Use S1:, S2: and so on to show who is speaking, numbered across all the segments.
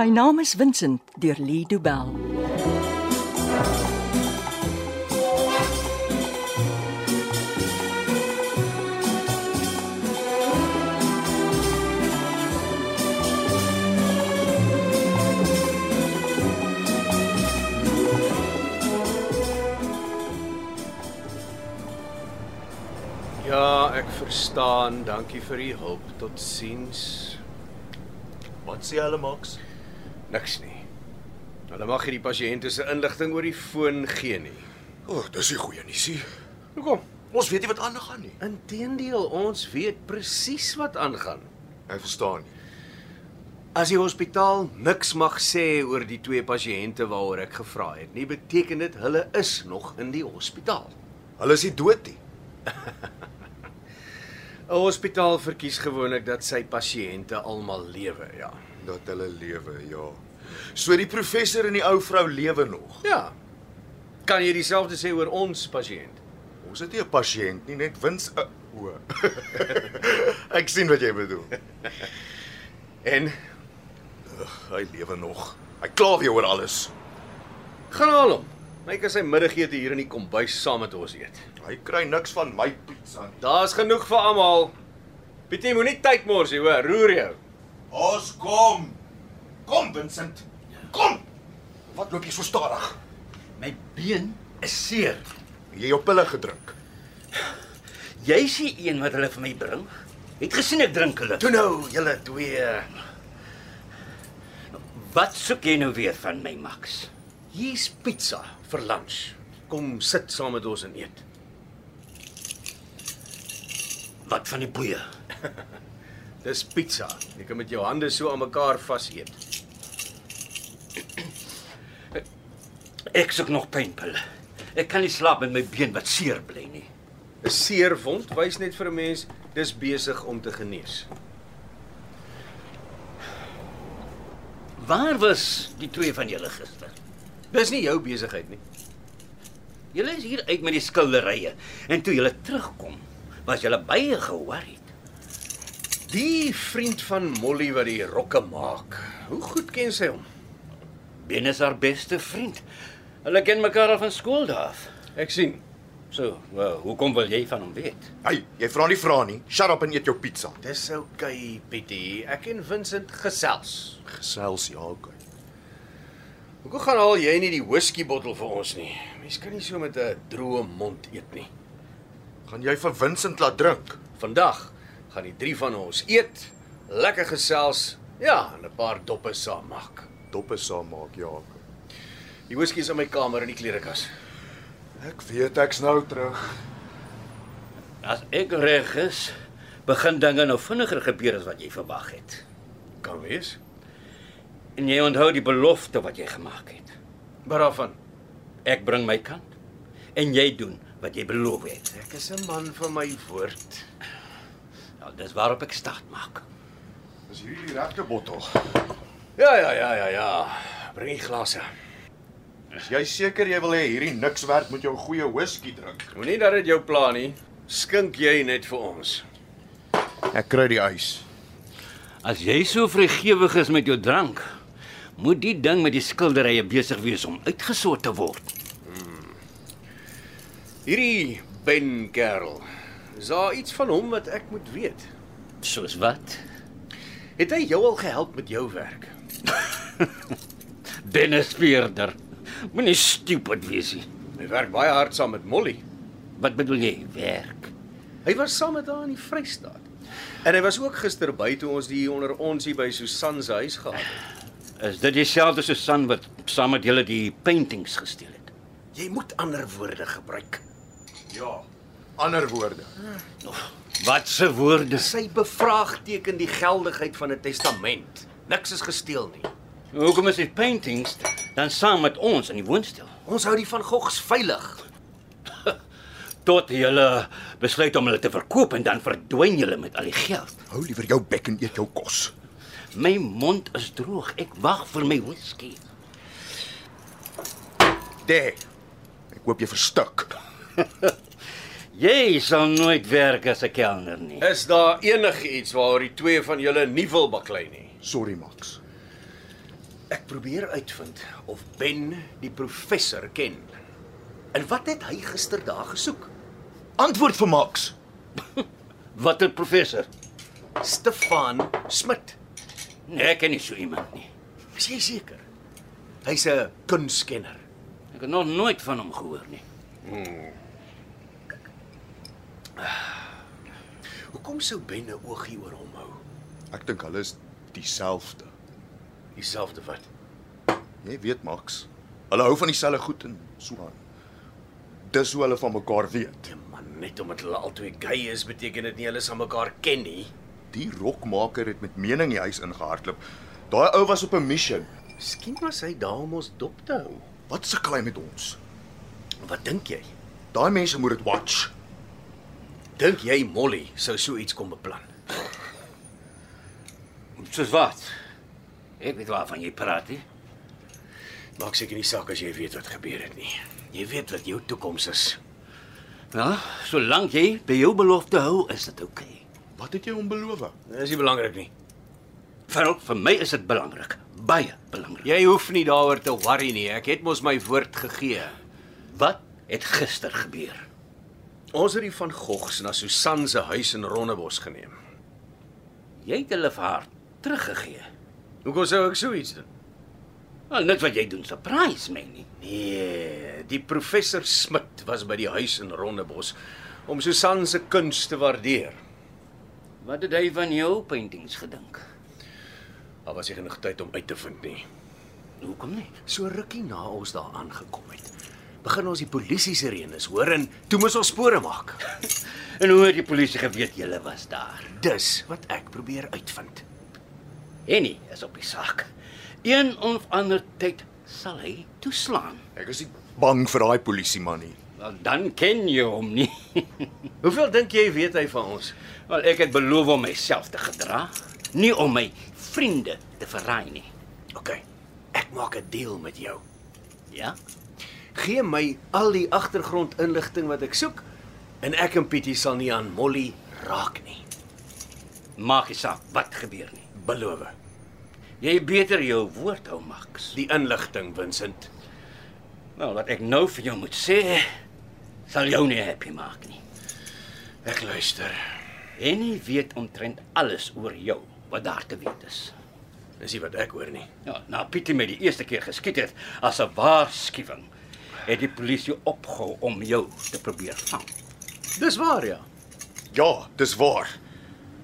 S1: My naam is Vincent deur Lee Du Bell.
S2: Ja, ek verstaan. Dankie vir u hulp. Tot sins.
S3: Wat sê hulle Max?
S2: Niks nie. Hulle mag hierdie pasiënte se inligting oor die foon gee nie.
S3: O, oh, dis 'n goeie nuusie.
S2: Hoekom?
S3: Ons weet nie wat aangaan nie.
S2: Inteendeel, ons weet presies wat aangaan.
S3: Ek verstaan nie.
S2: As die hospitaal niks mag sê oor die twee pasiënte waaroor ek gevra het nie, beteken dit hulle is nog in die hospitaal.
S3: Hulle is nie dood nie.
S2: 'n Hospitaal verkies gewoonlik dat sy pasiënte almal lewe, ja.
S3: Dat hulle lewe, ja. So die professor en die ou vrou lewe nog.
S2: Ja. Kan jy dieselfde sê oor ons pasiënt?
S3: Ons het nie 'n pasiënt nie, net wins 'n o. ek sien wat jy bedoel.
S2: En
S3: Hy lewe nog. Hy kla weer oor alles.
S2: gaan haal hom. My kan sy middagete hier in die kombuis saam met ons eet.
S3: Hy kry niks van my pizza nie.
S2: Daar's genoeg vir almal. Pietie moenie tyd mors hier, hoor, roer jou.
S3: Ons kom. Kom Vincent. Kom. Wat loop jy so stadig?
S4: My been is seer.
S3: Jy het jou pille gedrink.
S4: Jy's die een wat hulle vir my bring. Het gesien ek drink hulle.
S2: Toe nou, julle twee.
S4: Wat soek jy nou weer van my, Max?
S2: Hier's pizza vir lunch. Kom sit saam met ons en eet.
S4: Wat van die boeie?
S2: Dis pizza. Jy kan met jou hande so aan mekaar vas eet.
S4: Ek soek nog pynpille. Ek kan nie slaap met my been wat seer bly nie.
S2: 'n Seer wond wys net vir 'n mens dis besig om te genees.
S4: Waar was die twee van julle gister?
S2: Dis nie jou besigheid nie.
S4: Julle is hier uit met die skilderye en toe julle terugkom, was julle baie ge-worried.
S2: Die vriend van Molly wat die rokke maak. Hoe goed ken sy hom?
S4: Ben is haar beste vriend. Hulle ken mekaar al van skool af.
S2: Ek sien.
S4: So, wel, hoekom wil jy van hom weet?
S3: Hey, jy vra nie vra nie. Shut up en eet jou pizza.
S2: Dis oukei, okay, Pietie. Ek en Vincent gesels.
S3: Gesels ja, okay.
S2: Hoekom gaan haal jy nie die whisky bottel vir ons nie? Mens kan nie so met 'n droë mond eet nie.
S3: Gaan jy vir Vincent laat drink?
S2: Vandag gaan die drie van ons eet, lekker gesels, ja, en 'n paar doppe saam maak.
S3: Doppe saam maak, ja.
S2: Die whisky is in my kamer in die klerekas.
S3: Ek weet ek's nou terug.
S4: As ek reg is, begin dinge nou vinniger gebeur as wat jy verwag het.
S2: Kan wees.
S4: En jy onthou die belofte wat jy gemaak het.
S2: Maar daarvan,
S4: Ek bring my kant en jy doen wat jy beloof het.
S2: ek is 'n man van my woord.
S4: Nou, dis waarop ek staat maak.
S3: Is hierdie die regte bottel?
S2: Ja, ja, ja, ja, ja. Bring die glase.
S3: Is jy seker jy wil hê hierdie niks werd moet jou goeie whisky drink?
S2: Moenie dat dit jou pla nie. Skink jy net vir ons.
S3: Ek kry die ys.
S4: As jy so vrygewig is met jou drank, moet die ding met die skilderye besig wees om uitgesort te word.
S2: Hierdie Ben Kerel. Is daar iets van hom wat ek moet weet?
S4: Soos wat?
S2: Het hy jou al gehelp met jou werk?
S4: Dennis Veerder. Moenie stupid wees nie.
S2: Hy werk baie hard saam met Molly.
S4: Wat bedoel jy? Werk.
S2: Hy was saam met haar in die Vrystaat. En hy was ook gister by toe ons die onder ons hier by Susan se huis gehad het.
S4: Is dit dieselfde Susan wat saam met julle die paintings gesteel het?
S2: Jy moet ander woorde gebruik.
S3: Ja. Ander woorde.
S4: Wat se woorde?
S2: Sy bevraagteken die geldigheid van 'n testament. Niks is gesteel nie.
S4: Hoekom is die paintings dan saam met ons in die woonstel?
S2: Ons hou die van Gogs veilig.
S4: Tot julle besluit om hulle te verkoop en dan verdwyn julle met al die geld.
S3: Hou liewer jou bek en eet jou kos.
S4: My mond is droog. Ek wag vir my whisky.
S3: Dê. Ek hoop jy verstik.
S4: Jy sal nooit werk as 'n kelner nie.
S2: Is daar enigiets waaroor die twee van julle nie wil baklei nie?
S3: Sorry Max.
S2: probeer uitvind of Ben die professor ken. En wat het hy gister daar gesoek?
S3: Antwoord vir Max.
S4: Watter professor?
S2: Stefan Smit.
S4: Nee, ek ken nie so iemand nie.
S2: Is jy seker? Hy's 'n kunstkenner.
S4: Ek het nog nooit van hom gehoor nie.
S2: Hoekom sou Ben 'n oogie oor hom hou?
S3: Ek dink hulle is dieselfde.
S2: Dieselfde wat.
S3: Jy weet Max, hulle hou van dieselfde goed en so aan. Dis hoe hulle van mekaar weet.
S2: Die man net omdat hulle albei gay is, beteken dit nie hulle sal mekaar ken nie.
S3: Die rokmaker het met mening die huis ingehardloop. Daai ou was op 'n mission.
S2: Miskien was hy daar om ons dop te hou.
S3: Wat sukkel hy met ons?
S2: Wat dink jy?
S3: Daai mense moet dit watch.
S2: Dink jy Molly sou so iets kon beplan?
S4: Soos wat? Ek weet waarvan jy praat, hè?
S2: Maak seker nie saak as jy weet wat gebeur het nie. Jy weet wat jou toekoms is.
S4: Ja, solank jy by jou belofte hou, is dit oukei. Okay.
S3: Wat het jy hom beloof?
S2: Dis nie belangrik nie.
S4: Vir vir my is dit belangrik, baie Ja. belangrik.
S2: Jy hoef nie daaroor te worry nie. Ek het mos my woord gegee.
S4: Wat het gister gebeur?
S2: Ons het die van Gogs na Susan se huis in Rondebos geneem.
S4: Jy het hulle vir haar teruggegee.
S2: Hoekom sou ek so iets doen?
S4: Wel, net wat jy doen, surprise my nie.
S2: Nee, die professor Smit was by die huis in Rondebos om Susan se kuns te waardeer.
S4: Wat het hy van jou paintings gedink?
S2: Daar was nie genoeg tyd om uit te vind nie.
S4: Hoekom nie?
S2: So rukkie na ons daar aangekom het, begin ons die polisie sirenes hoor en toe moes ons spore maak.
S4: En hoe het die polisie geweet jy was daar?
S2: Dis wat ek probeer uitvind.
S4: Henny nee, is op die saak. Een of ander tyd sal hy toeslaan.
S3: Ek is nie bang vir daai polisieman nie.
S4: Wel, dan ken jy hom nie.
S2: Hoeveel dink jy weet hy van ons?
S4: Wel, ek het beloof om myself te gedra, nie om my vriende te verraai nie.
S2: OK. Ek maak 'n deal met jou.
S4: Ja?
S2: Gee my al die agtergrondinligting wat ek soek en ek en Pietie sal nie aan Molly raak nie.
S4: Maak nie saak wat gebeur nie.
S2: Beloof.
S4: Jy beter jou woord hou, Max.
S2: Die inligting, Vincent.
S4: Wel, wat ek nou vir jou moet sê, sal jou nie happy maak nie.
S2: Ek luister.
S4: En jy weet omtrent alles oor jou wat daar te weet is.
S2: Dis nie wat ek hoor nie.
S4: Ja, na Pietie met die eerste keer geskiet het as 'n waarskuwing, het die polisie opgehou om jou te probeer vang.
S2: Dis waar ja.
S3: Ja, dis waar.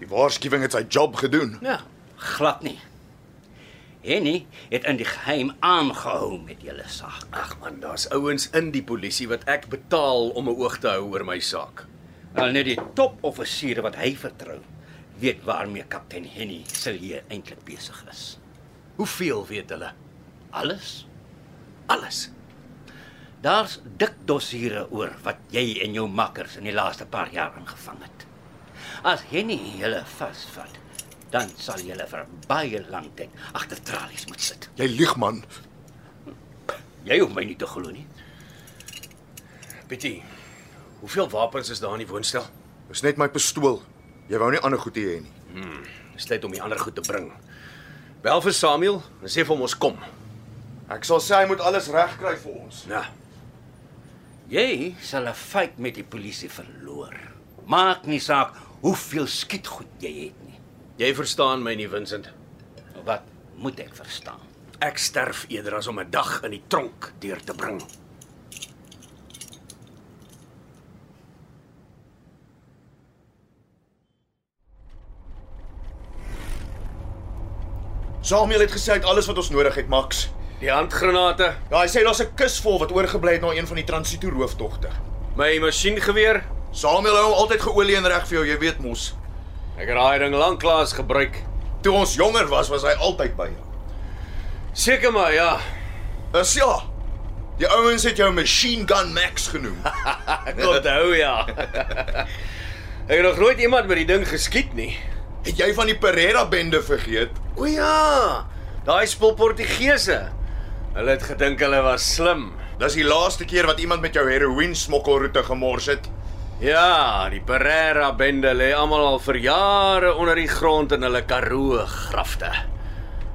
S3: Die waarskuwing het sy job gedoen.
S2: Ja.
S4: Glad nie. Henny het in die geheim aangehou met julle saak.
S2: Ag man, daar's ouens in die polisie wat ek betaal om 'n oog te hou oor my saak.
S4: Al net die topoffisiere wat hy vertrou, weet waarmee kaptein Henny Silje eintlik besig is.
S2: Hoeveel weet hulle?
S4: Alles
S2: Alles.
S4: Daar's dik dossiere oor wat jy en jou makkers in die laaste paar jaar ingevang het. As Henny julle vasvat, dan sal julle vir baie lank tyd agter tralies moet sit.
S3: Jy lieg man.
S4: Jy hoef my nie te glo nie.
S2: Pietie. Hoeveel wapens is daar in die woonstel?
S3: Dis net my pistool. Jy wou nie ander goed hê nie.
S2: Dis tyd om die ander goed te bring. Bel vir Samuel en sê vir hom ons kom.
S3: Ek sal sê hy moet alles regkry vir ons.
S2: Ja.
S4: Jy sal 'n fight met die polisie verloor. Maak nie saak hoeveel skietgoed jy het nie.
S2: Jy verstaan my nie, Vincent.
S4: Wat moet ek verstaan?
S2: Ek sterf eerder as om 'n dag in die tronk deur te bring.
S3: Samuel het gesê hy het alles wat ons nodig het, Max.
S2: Die handgranate,
S3: Ja, hy sê daar's 'n kus vol wat oorgebly het na een van die transito rooftogte.
S2: my masjiengeweer.
S3: Samuel hou hom altyd geolie en reg vir jou, jy weet mos.
S2: Ek het daai ding lanklaas gebruik.
S3: Toe ons jonger was, was hy altyd by jou.
S2: Seker maar, ja.
S3: Is ja. Die ouens het jou machine gun Max genoem.
S2: Ek onthou ja. Ek het nog nooit iemand met die ding geskiet nie.
S3: het jy van die Pereira bende vergeet?
S2: O ja, daai spul Portugese. Hulle het gedink hulle was slim.
S3: Dis die laaste keer wat iemand met jou heroïne smokkelroete gemors het.
S2: Ja, die Pereira bende lê almal al vir jare onder die grond in hulle Karoo grafte.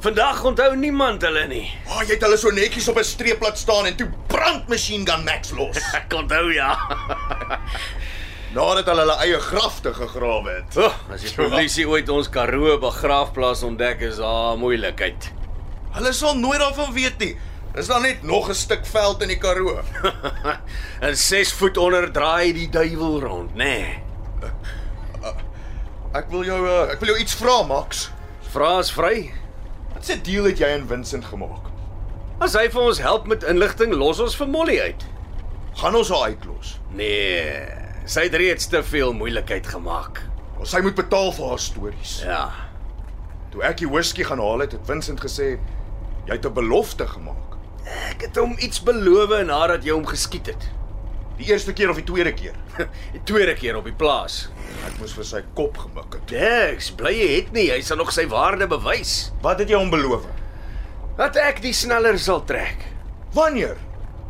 S2: Vandag onthou niemand hulle nie.
S3: Ah, jy het hulle so netjies op 'n streep laat staan en toe brand machine gun Max los.
S2: Ek onthou ja.
S3: Nadat hulle hulle eie grafte gegrawe het.
S2: Oh, as die polisie ooit ons Karoo begraafplaas ontdek is daar moeilikheid.
S3: Hulle sal nooit daarvan weet nie. Dis dan net nog 'n stuk veld in die Karoo.
S2: En 6 voet onder draai die duiwel rond, nê. Nee.
S3: Ek wil jou eh, ek wil jou iets vra, Max.
S2: Vraas vry.
S3: Wat se deal het jy en Vincent gemaak?
S2: As hy vir ons help met inligting, los ons vir Molly uit.
S3: Gaan ons haar uitlos?
S2: Nee, sy het reeds te veel moeilikheid gemaak.
S3: Ons sy moet betaal vir haar stories.
S2: Ja.
S3: Toe ek die whisky gaan haal het, het Vincent gesê jy het 'n belofte gemaak.
S2: Ek het hom iets beloof nadat jy hom geskiet het.
S3: Die eerste keer of die tweede keer.
S2: Die tweede keer op die plaas.
S3: Ek moes vir sy kop gemik het.
S2: Dix, bly jy het nie, hy sal nog sy waarde bewys.
S3: Wat het jy hom beloof?
S2: Dat ek die sneller sal trek
S3: Wanneer?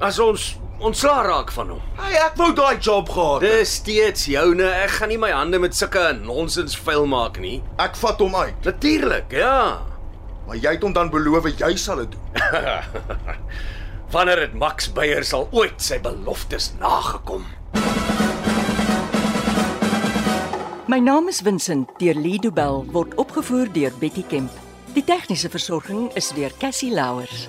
S2: as ons ontslaa raak van hom.
S3: Hey, ek wou daai job gehad.
S2: Dis steeds joune. Ek gaan nie my hande met sulke nonsens vuil maak nie.
S3: Ek vat hom uit,
S2: Natuurlik, ja.
S3: maar jy het hom dan beloof jy sal dit doen.
S2: Wanneer dit Max Beyer sal ooit sy beloftes nagekom.
S1: My naam is Vincent deur Lee Du Bell word opgevoer deur Betty Kemp. Die tegniese versorging is deur Cassie Louers.